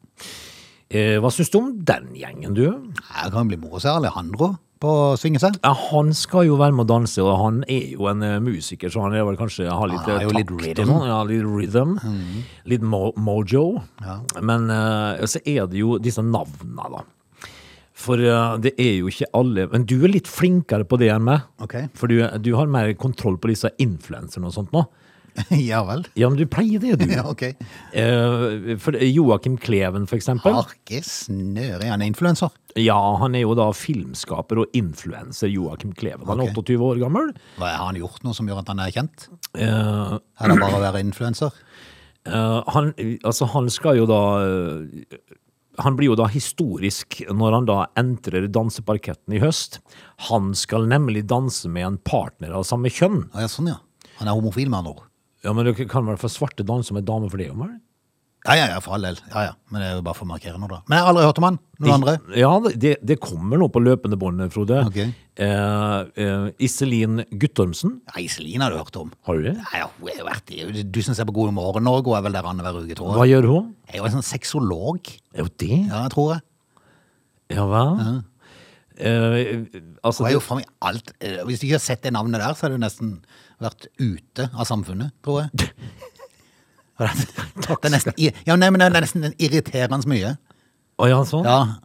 [SPEAKER 2] Eh, hva syns du om den gjengen, du?
[SPEAKER 1] Det kan jo bli moro å se Alejandro på å svinge seg.
[SPEAKER 2] Ja, han skal jo være med å danse, og han er jo en eh, musiker, så han er vel kanskje har litt,
[SPEAKER 1] Ah, Han har jo
[SPEAKER 2] eh,
[SPEAKER 1] litt
[SPEAKER 2] takt og
[SPEAKER 1] rhythm. Mm.
[SPEAKER 2] sånn, Ja, litt rhythm. Litt mo mojo. Men eh, så er det jo disse navnene, da. For eh, det er jo ikke alle Men du er litt flinkere på det enn meg.
[SPEAKER 1] Ok.
[SPEAKER 2] For du, du har mer kontroll på disse influenserne og sånt nå.
[SPEAKER 1] ja vel.
[SPEAKER 2] Ja, men du pleier det, du.
[SPEAKER 1] Ja, ok.
[SPEAKER 2] Eh, for Joakim Kleven, for eksempel.
[SPEAKER 1] Harke snøre, han er influenser.
[SPEAKER 2] Ja, han er jo da filmskaper og influenser, Joakim Kleven. Han er
[SPEAKER 1] Ok.
[SPEAKER 2] 28 år gammel.
[SPEAKER 1] Hva Har han gjort noe som gjør at han er kjent?
[SPEAKER 2] Eh,
[SPEAKER 1] Er det bare å være influenser?
[SPEAKER 2] eh, han, altså, han skal jo da eh, Han blir jo da historisk når han da entrer danseparketten i høst. Han skal nemlig danse med en partner av samme kjønn.
[SPEAKER 1] Ja, ja, sånn, ja. Han er homofil, med andre ord.
[SPEAKER 2] Ja, men dere kan vel få svarte danse med damer for det, om vel?
[SPEAKER 1] Ja, ja, ja, for all del. Ja, ja. Men det er jo bare for å markere noe, da. Men jeg har aldri hørt om han. Noen andre?
[SPEAKER 2] Ja, det, det kommer nå på løpende bånd, Frode.
[SPEAKER 1] Ok.
[SPEAKER 2] Eh, eh, Iselin Guttormsen.
[SPEAKER 1] Ja, Iselin har du hørt om.
[SPEAKER 2] Har du det?
[SPEAKER 1] Nei, ja, hun er jo vært i Du som ser på God morgen Norge, hun er vel der annenhver uke, tror
[SPEAKER 2] Hva
[SPEAKER 1] jeg.
[SPEAKER 2] gjør hun?
[SPEAKER 1] Jeg er jo en sånn sexolog.
[SPEAKER 2] Er hun det?
[SPEAKER 1] Ja, jeg tror jeg.
[SPEAKER 2] Ja vel? Eh, altså,
[SPEAKER 1] Hun er jo
[SPEAKER 2] det-
[SPEAKER 1] fremme i alt. Eh, Hvis du ikke har sett det navnet der, så har du nesten vært ute av samfunnet, tror jeg. Det er nesten, i- ja, nei, men det er nesten irriterende så mye.
[SPEAKER 2] Å, ja, sånn?
[SPEAKER 1] Ja,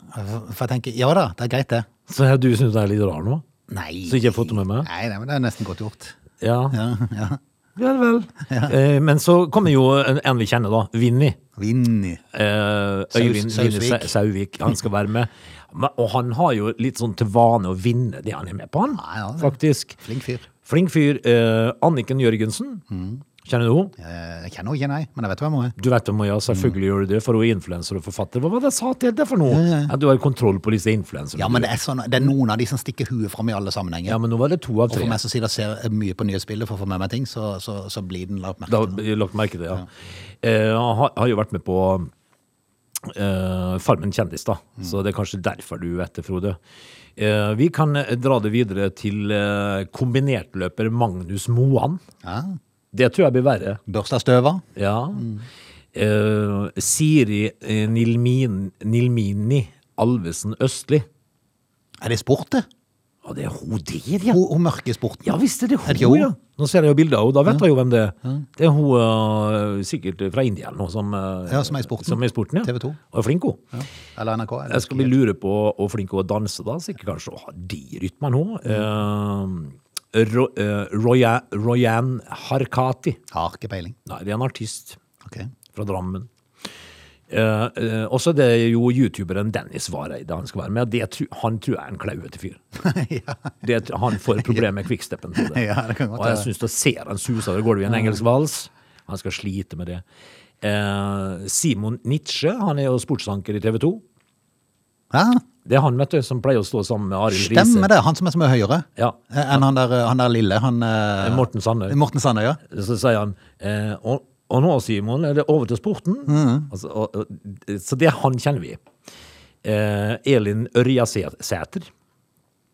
[SPEAKER 1] for jeg tenker, ja da, det er greit det.
[SPEAKER 2] Så jeg- du syns det er litt rar nå?
[SPEAKER 1] Nei.
[SPEAKER 2] Så ikke jeg har fått det med meg?
[SPEAKER 1] Nei, nei, men det er nesten godt gjort.
[SPEAKER 2] Ja,
[SPEAKER 1] Ja, ja.
[SPEAKER 2] vel, vel. Eh, men så kommer jo en, en vi kjenner, da. Vinni.
[SPEAKER 1] Vinny.
[SPEAKER 2] Eh, Øyvind
[SPEAKER 1] Saus-
[SPEAKER 2] Vinni
[SPEAKER 1] Sausvik.
[SPEAKER 2] Sa- Sauvik. Han skal være med. Men- Og han har jo litt sånn til vane å vinne det han er med på, han.
[SPEAKER 1] Ja, ja, det-
[SPEAKER 2] Faktisk.
[SPEAKER 1] Flink fyr.
[SPEAKER 2] Flink fyr. Eh, Anniken Jørgensen.
[SPEAKER 1] Mm.
[SPEAKER 2] Kjenner du henne?
[SPEAKER 1] Eh, Jeg kjenner henne ikke, nei, men jeg vet hvem hun er.
[SPEAKER 2] Du vet om jeg
[SPEAKER 1] Mm.
[SPEAKER 2] selvfølgelig gjør det, for hun er influenser og forfatter. Hva var det jeg sa til deg for noe? At du har kontroll på disse influenserne.
[SPEAKER 1] Ja, men det er, sånn, det er noen av de som stikker huet fram i alle sammenhenger.
[SPEAKER 2] Ja, men nå var det to av
[SPEAKER 1] Og
[SPEAKER 2] tre.
[SPEAKER 1] for meg som sier jeg ser mye på nyhetsbildet for å få med meg ting, så, så, så blir den lagt merke
[SPEAKER 2] Da
[SPEAKER 1] til.
[SPEAKER 2] jeg lagt merke til det, ja. Eh, han har, har jo vært med på eh, Farmen kjendis, da. Så det er kanskje derfor du vet det, Frode. Eh, vi kan eh, dra det videre til eh, kombinertløper Magnus Moan.
[SPEAKER 1] Ja.
[SPEAKER 2] Det tror jeg blir verre.
[SPEAKER 1] Børsta støva.
[SPEAKER 2] Ja. Eh, Siri eh, Nilmin, Nilmini Alvesen Østli.
[SPEAKER 1] Er det sport, det?
[SPEAKER 2] Ja, det er hun der, ja.
[SPEAKER 1] Hun, hun mørke sporten.
[SPEAKER 2] Ja visst er det
[SPEAKER 1] Er
[SPEAKER 2] hun,
[SPEAKER 1] det ikke hun?
[SPEAKER 2] ja. Nå ser jeg jo bilder av henne, da vet jeg jo hvem det er. Det er hun øh, sikkert fra India eller noe som, øh,
[SPEAKER 1] Ja, som er i sporten.
[SPEAKER 2] Som er i sporten ja.
[SPEAKER 1] TV 2.
[SPEAKER 2] Og er flink hun.
[SPEAKER 1] Eller NRK. eller-
[SPEAKER 2] Jeg skal bli lure på hvor flink hun er å danse da, sikkert kanskje å ha de rytmene hun. Eh, Ro, eh, Roya- Royan Harkati.
[SPEAKER 1] Har ikke peiling.
[SPEAKER 2] Nei, det er en artist
[SPEAKER 1] Ok.
[SPEAKER 2] fra Drammen. Uh, uh, også det er jo youtuberen Dennis Vareide han skal være med. Det, tru- han tror jeg er en klauete fyr.
[SPEAKER 1] ja.
[SPEAKER 2] Det, han får problemer med kvikksteppen. tror jeg.
[SPEAKER 1] Ja, det kan godt
[SPEAKER 2] og jeg
[SPEAKER 1] være. Mm.
[SPEAKER 2] syns da ser han suser over gulvet i en engelsk vals. Han skal slite med det. Eh, Simon Nitsche, han er jo sportsanker i TV 2.
[SPEAKER 1] ja,
[SPEAKER 2] Det er han vet du, som pleier å stå sammen med Arild Riise.
[SPEAKER 1] stemmer det. Han som er så mye høyere
[SPEAKER 2] Ja.
[SPEAKER 1] eh, enn han der, han der lille. Han, eh,
[SPEAKER 2] Morten Sandøy.
[SPEAKER 1] Morten Sandøy, ja.
[SPEAKER 2] Så sier han eh, og, og nå, Simon, er det over til sporten.
[SPEAKER 1] Mm.
[SPEAKER 2] Altså, og, og, så det er han kjenner vi. Eh, Elin Ørja Sæter.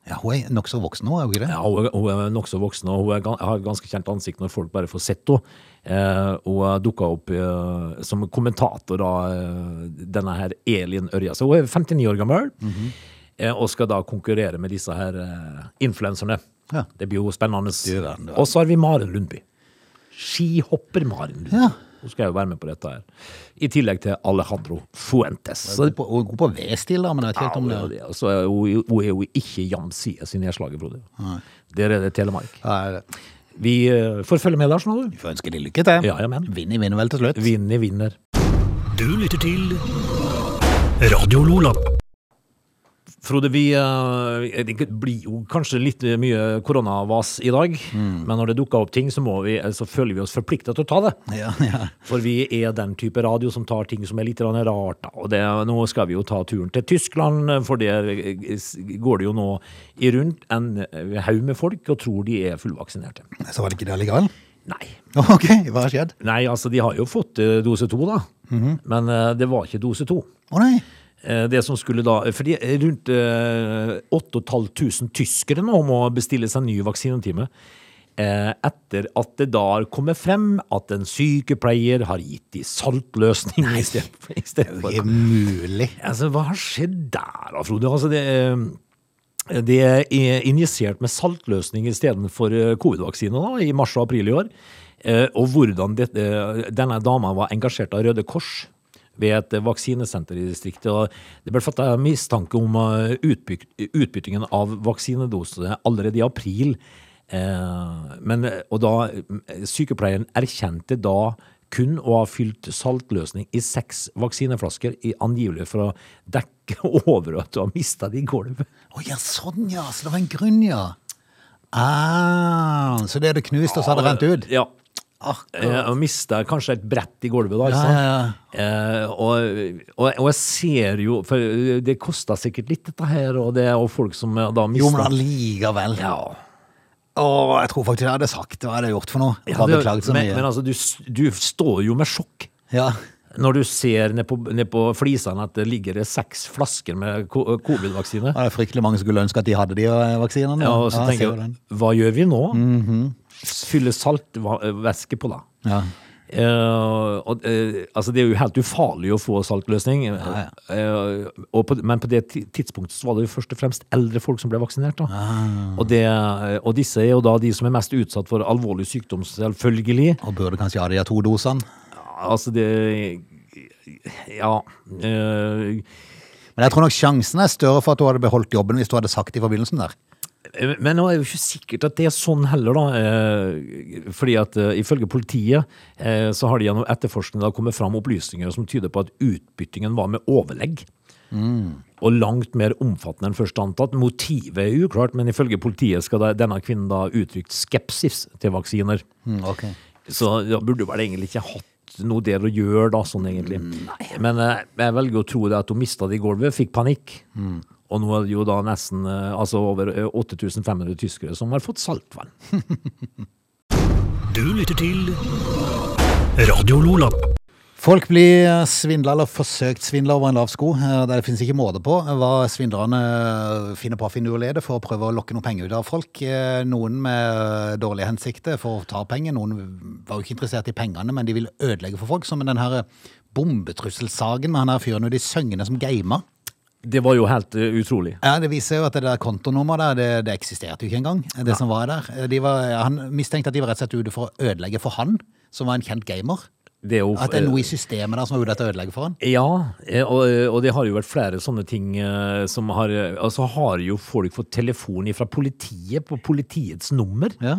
[SPEAKER 1] ja. Hun er nokså voksen nå, er hun ikke det?
[SPEAKER 2] Ja, hun er, hun er nokså voksen, og hun er, gan- har et ganske kjent ansikt når folk bare får sett henne. Eh, hun dukka opp eh, som kommentator, da, eh, denne her Elin Ørja. Så hun er 59 år gammel
[SPEAKER 1] Mhm.
[SPEAKER 2] eh, og skal da konkurrere med disse her eh, influenserne.
[SPEAKER 1] Ja.
[SPEAKER 2] Det blir jo spennende.
[SPEAKER 1] Du verden, du verden.
[SPEAKER 2] Og så har vi Maren Lundby. Skihopper-Maren Lundby.
[SPEAKER 1] Ja.
[SPEAKER 2] Hun skal jo være med på dette her. I tillegg til Alejandro Fuentes. Så
[SPEAKER 1] Hun er god på- hun er god på V-stil, da, men jeg vet ikke helt om
[SPEAKER 2] ja,
[SPEAKER 1] det
[SPEAKER 2] det, altså, hun, hun er jo ikke jamsides i nedslaget, Frode. Der er det Telemark.
[SPEAKER 1] Ja, er det-
[SPEAKER 2] Vi eh, får følge med der, sånn.
[SPEAKER 1] Vi får ønske de lykke til.
[SPEAKER 2] Ja, ja, men.
[SPEAKER 1] Vinner vinner vel til slutt.
[SPEAKER 2] Vinni vinner.
[SPEAKER 3] Du lytter til Radio Lola.
[SPEAKER 2] Frode, vi eh, det blir jo kanskje litt mye koronavas i dag,
[SPEAKER 1] Mm.
[SPEAKER 2] men når det dukker opp ting, så, må vi, eh, så føler vi oss forplikta til å ta det.
[SPEAKER 1] Ja, ja.
[SPEAKER 2] For vi er den type radio som tar ting som er litt grann rart. da. Og det, nå skal vi jo ta turen til Tyskland, for der eh, s- går det jo nå i rundt en eh, haug med folk og tror de er fullvaksinerte.
[SPEAKER 1] Så var det ikke det likevel?
[SPEAKER 2] Nei.
[SPEAKER 1] Ok, hva har skjedd?
[SPEAKER 2] Nei, altså de har jo fått eh, dose to, da. Men eh, det var ikke dose to.
[SPEAKER 1] Å nei.
[SPEAKER 2] Eh, Det som skulle da, fordi rundt eh, 8500 tyskere nå må bestille seg en ny vaksinetime eh, etter at det da har kommet frem at en sykepleier har gitt de saltløsning i stedet for- i stedet for
[SPEAKER 1] Ikke mulig.
[SPEAKER 2] Altså, hva har skjedd der da, Frode? Altså, det, eh, det er injisert med saltløsning i stedet for eh, covid-vaksine da, i mars og april i år. Eh, Og hvordan dette- denne dama var engasjert av Røde Kors ved et eh, vaksinesenter i distriktet. Og det ble fattet mistanke om eh, utbyk- utbyttingen av vaksinedosene allerede i april. Eh, Men, eh, og da eh, sykepleieren erkjente da kun å ha fylt saltløsning i seks vaksineflasker, i angivelig for å dekke over at du har mista det i gulvet.
[SPEAKER 1] Å ja, sånn ja. Så det var en grunn, ja. Ah, så det er det knust, og så har det rent ut?
[SPEAKER 2] Ja. Eh,
[SPEAKER 1] Akkurat.
[SPEAKER 2] Jeg mista kanskje et brett i gulvet, da. ikke
[SPEAKER 1] Ja,
[SPEAKER 2] sant?
[SPEAKER 1] ja, ja.
[SPEAKER 2] Eh, og, og, og jeg ser jo For eh, det kosta sikkert litt, dette her, og det er jo folk som eh, da
[SPEAKER 1] Jo, men
[SPEAKER 2] mista
[SPEAKER 1] allikevel.
[SPEAKER 2] ja.
[SPEAKER 1] Åh, jeg tror faktisk jeg hadde sagt det. Hva hadde jeg gjort for noe? Jeg
[SPEAKER 2] Ja,
[SPEAKER 1] hadde
[SPEAKER 2] det-
[SPEAKER 1] beklaget så
[SPEAKER 2] men,
[SPEAKER 1] mye.
[SPEAKER 2] men altså, du, s- du står jo med sjokk.
[SPEAKER 1] ja.
[SPEAKER 2] Når du ser ned på, ned på flisene at det ligger det seks flasker med ko- eh, covid-vaksine.
[SPEAKER 1] Det er fryktelig mange som skulle ønske at de hadde de eh, vaksinene.
[SPEAKER 2] Ja, og så
[SPEAKER 1] jeg ser jo
[SPEAKER 2] tenker jeg,
[SPEAKER 1] den. Mhm.
[SPEAKER 2] hva gjør vi nå? Fylle saltvæske på da.
[SPEAKER 1] Ja.
[SPEAKER 2] Eh, og, eh, altså det er jo helt ufarlig å få saltløsning, Eh, og på, men på det ti- tidspunktet så var det jo først og fremst eldre folk som ble vaksinert. Da. Og, det, eh, og disse er jo da de som er mest utsatt for alvorlig sykdom, selvfølgelig.
[SPEAKER 1] Og burde kanskje ha de her to dosene.
[SPEAKER 2] Altså det Ja. eh,
[SPEAKER 1] Men jeg tror nok sjansen er større for at du hadde beholdt jobben hvis du hadde sagt det i forbindelsen der.
[SPEAKER 2] Men nå er det jo ikke sikkert at det er sånn heller, da. eh, Fordi at eh, ifølge politiet eh, så har de gjennom etterforskning da kommet fram opplysninger som tyder på at utbyttingen var med overlegg. Og langt mer omfattende enn først antatt. Motivet er uklart, men ifølge politiet skal da, denne kvinnen da ha uttrykt skepsis til vaksiner. Så da burde vel egentlig ikke hatt noe der å gjøre, da, sånn egentlig.
[SPEAKER 1] Mm.
[SPEAKER 2] Men eh, jeg velger å tro det at hun mista det i gulvet, fikk panikk.
[SPEAKER 1] Mm.
[SPEAKER 2] Og nå er det jo da nesten eh, altså over eh, 8500 tyskere som har fått saltvann.
[SPEAKER 3] Du lytter til Radio Lola.
[SPEAKER 1] Folk blir svindla eller forsøkt svindla over en lav sko. Eh, Det finnes ikke måte på eh, hva svindlerne eh, finner på av finurligheter for å prøve å lokke noen penger ut av folk. Eh, Noen med eh, dårlige hensikter for å ta penger, noen var jo ikke interessert i pengene, men de vil ødelegge for folk. Som den her bombetrusselsaken med han her fyren ute i Søgne som gama.
[SPEAKER 2] Det var jo helt eh, utrolig.
[SPEAKER 1] Ja, Det viser jo at det der kontonummeret der, det, det eksisterte jo ikke engang. Det som var der. Eh, De var, han mistenkte at de var rett og slett ute for å ødelegge for han, som var en kjent gamer.
[SPEAKER 2] Det er jo,
[SPEAKER 1] At det er noe i systemet der som var ute etter å ødelegge for han.
[SPEAKER 2] Ja, eh, og, og det har jo vært flere sånne ting eh, som har eh, Altså har jo folk fått telefon fra politiet på politiets nummer.
[SPEAKER 1] Ja.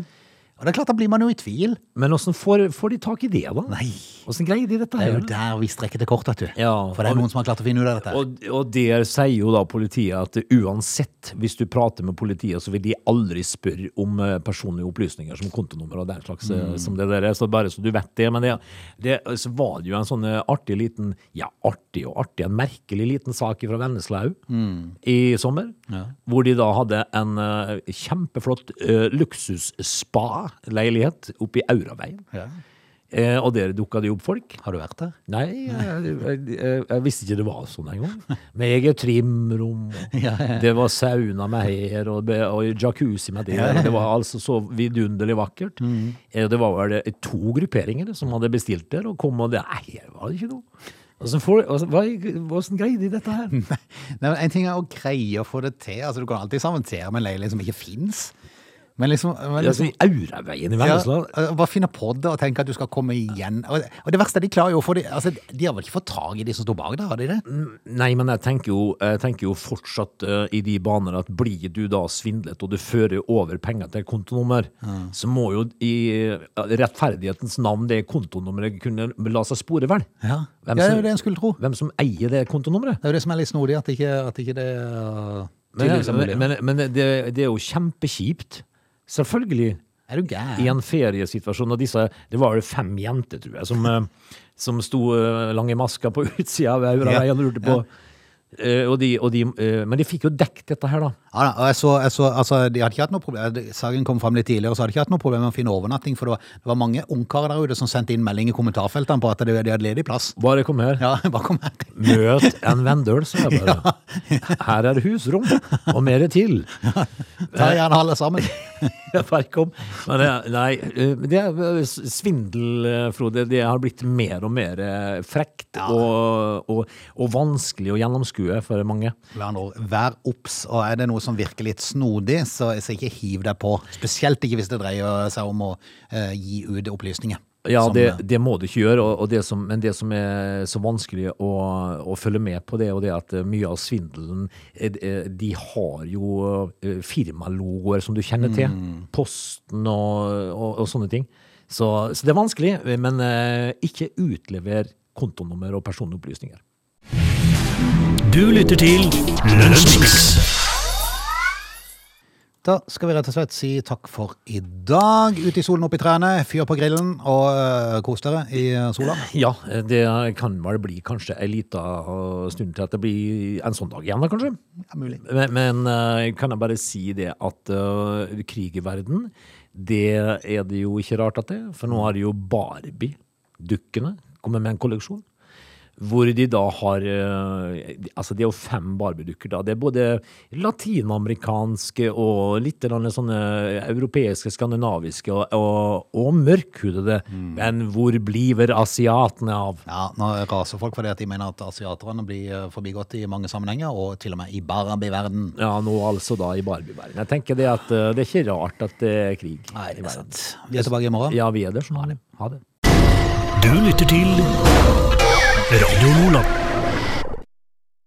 [SPEAKER 1] Og det er klart, da blir man jo i tvil.
[SPEAKER 2] Men åssen får, får de tak i det, da?
[SPEAKER 1] Nei.
[SPEAKER 2] Åssen greier de dette
[SPEAKER 1] Det er
[SPEAKER 2] her?
[SPEAKER 1] jo der vi strekker det kort, vet du.
[SPEAKER 2] Ja.
[SPEAKER 1] For det er noen som har klart å finne ut av dette.
[SPEAKER 2] Og, og der sier jo da politiet at uansett, hvis du prater med politiet, så vil de aldri spørre om eh, personlige opplysninger som kontonummer og den slags. eh, som det der er, så Bare så du vet det. Men det, det, så var det jo en sånn eh, artig liten Ja, artig og artig, en merkelig liten sak fra Venneslaug i sommer. Hvor de da hadde en eh, kjempeflott eh, luksus-spa-leilighet oppe i Auraveien.
[SPEAKER 1] Ja.
[SPEAKER 2] Eh, og der dukka det jo opp folk.
[SPEAKER 1] Har du vært der?
[SPEAKER 2] Nei, jeg, jeg, jeg, jeg visste ikke det var sånn engang. Med eget trimrom, og det var sauna med her, og, be- og jacuzzi med der. og Det var altså så vidunderlig vakkert. Eh, Det var vel eh, to grupperinger som hadde bestilt der, og kom og det Nei, her var det ikke noe. Åssen får- åssen- hva- åssen greide de dette her?
[SPEAKER 1] Nei, men En ting er å greie å få det til. Altså, Du kan alltid sammen til med en leilighet som ikke fins. Men liksom, men
[SPEAKER 2] Altså,
[SPEAKER 1] liksom
[SPEAKER 2] i Auraveien i Vennesla.
[SPEAKER 1] Ja, altså, bare finne på det og tenke at du skal komme igjen. Og, og det verste, er de klarer jo å få det altså, De har vel ikke fått tak i de som står bak der, har de det?
[SPEAKER 2] Mm. Nei, men jeg tenker jo, jeg tenker jo fortsatt eh, i de baner at blir du da svindlet, og du fører over penger til kontonummer, så må jo i eh, rettferdighetens navn det kontonummeret kunne la seg spore, vel?
[SPEAKER 1] Ja. Ja,
[SPEAKER 2] Hvem
[SPEAKER 1] det er
[SPEAKER 2] som-
[SPEAKER 1] jo det en skulle tro.
[SPEAKER 2] Hvem som eier det kontonummeret?
[SPEAKER 1] Det er jo det som er litt snodig, at ikke, at ikke det uh,
[SPEAKER 2] Men,
[SPEAKER 1] tydeligvis er mulig.
[SPEAKER 2] men, men det, det er jo kjempekjipt. Selvfølgelig.
[SPEAKER 1] er du gæren?
[SPEAKER 2] I en feriesituasjon, og disse, det var jo fem jenter, tror jeg, som, eh, som sto eh, lange masker på utsida av Auraveien og lurte på Eh, og de, og de, eh, Men de fikk jo dekket dette her, da.
[SPEAKER 1] Ja, da, og jeg så, jeg så, altså, de hadde ikke hatt noe problem de- Saken kom fram litt tidligere, så hadde de ikke hatt noe problem med å finne overnatting, for det var, det var mange ungkarer der ute som sendte inn melding i kommentarfeltene på at de, de hadde ledig plass.
[SPEAKER 2] Bare kom her.
[SPEAKER 1] Ja, bare kom her.
[SPEAKER 2] Møt en vendøl, sa jeg bare. Her er husrom, og mer til.
[SPEAKER 1] Ta gjerne alle sammen.
[SPEAKER 2] Jeg bare kom. Men det, nei, eh, det er svindel, eh, Frode. Det har blitt mer og mer eh, frekt og, og, og vanskelig å gjennomskue for mange.
[SPEAKER 1] Med andre ord, vær obs, og er det noe som virker litt snodig, så, så ikke hiv deg på. Spesielt ikke hvis det dreier seg om å eh, gi ut opplysninger.
[SPEAKER 2] Ja,
[SPEAKER 1] som, eh,
[SPEAKER 2] det, det må du ikke gjøre, og, og det som, men det som er så vanskelig å, å følge med på, det er jo det at eh, mye av svindelen eh, eh, De har jo eh, firmalogoer som du kjenner til. Posten og, og, og sånne ting. Så, så det er vanskelig, eh, men eh, ikke utlever kontonummer og personopplysninger.
[SPEAKER 3] Du lytter til Lunsjmix.
[SPEAKER 1] Da skal vi rett og slett si takk for i dag. Ut i solen, opp i trærne, fyr på grillen og eh, kos dere i eh, sola.
[SPEAKER 2] Ja, eh, det kan vel bli kanskje ei lita eh, stund til at det blir en sånn dag igjen, da, kanskje?
[SPEAKER 1] Ja, mulig.
[SPEAKER 2] Men, men eh, kan jeg bare si det at eh, krig i verden, det er det jo ikke rart at det er. For nå har jo Barbie-dukkene kommet med en kolleksjon. Hvor de da har eh, Altså, det er jo fem Barbie-dukker, da. Det er både latinamerikanske og litt eller annet sånne europeiske, skandinaviske og, og, og mørkhudede.
[SPEAKER 1] Mm.
[SPEAKER 2] Men hvor bliver asiatene av?
[SPEAKER 1] Ja, nå raser folk fordi at de mener at asiaterne blir eh, forbigått i mange sammenhenger, og til og med i Barbie-verden.
[SPEAKER 2] Ja, nå altså da i Barbie-verden. Jeg tenker det at eh, det er ikke rart at det er krig
[SPEAKER 1] Nei, det er
[SPEAKER 2] i verden.
[SPEAKER 1] sant. Vi er tilbake i morgen.
[SPEAKER 2] Ja, vi er der. Sånn er det. Ha det.
[SPEAKER 3] Du lytter til Radio Lola.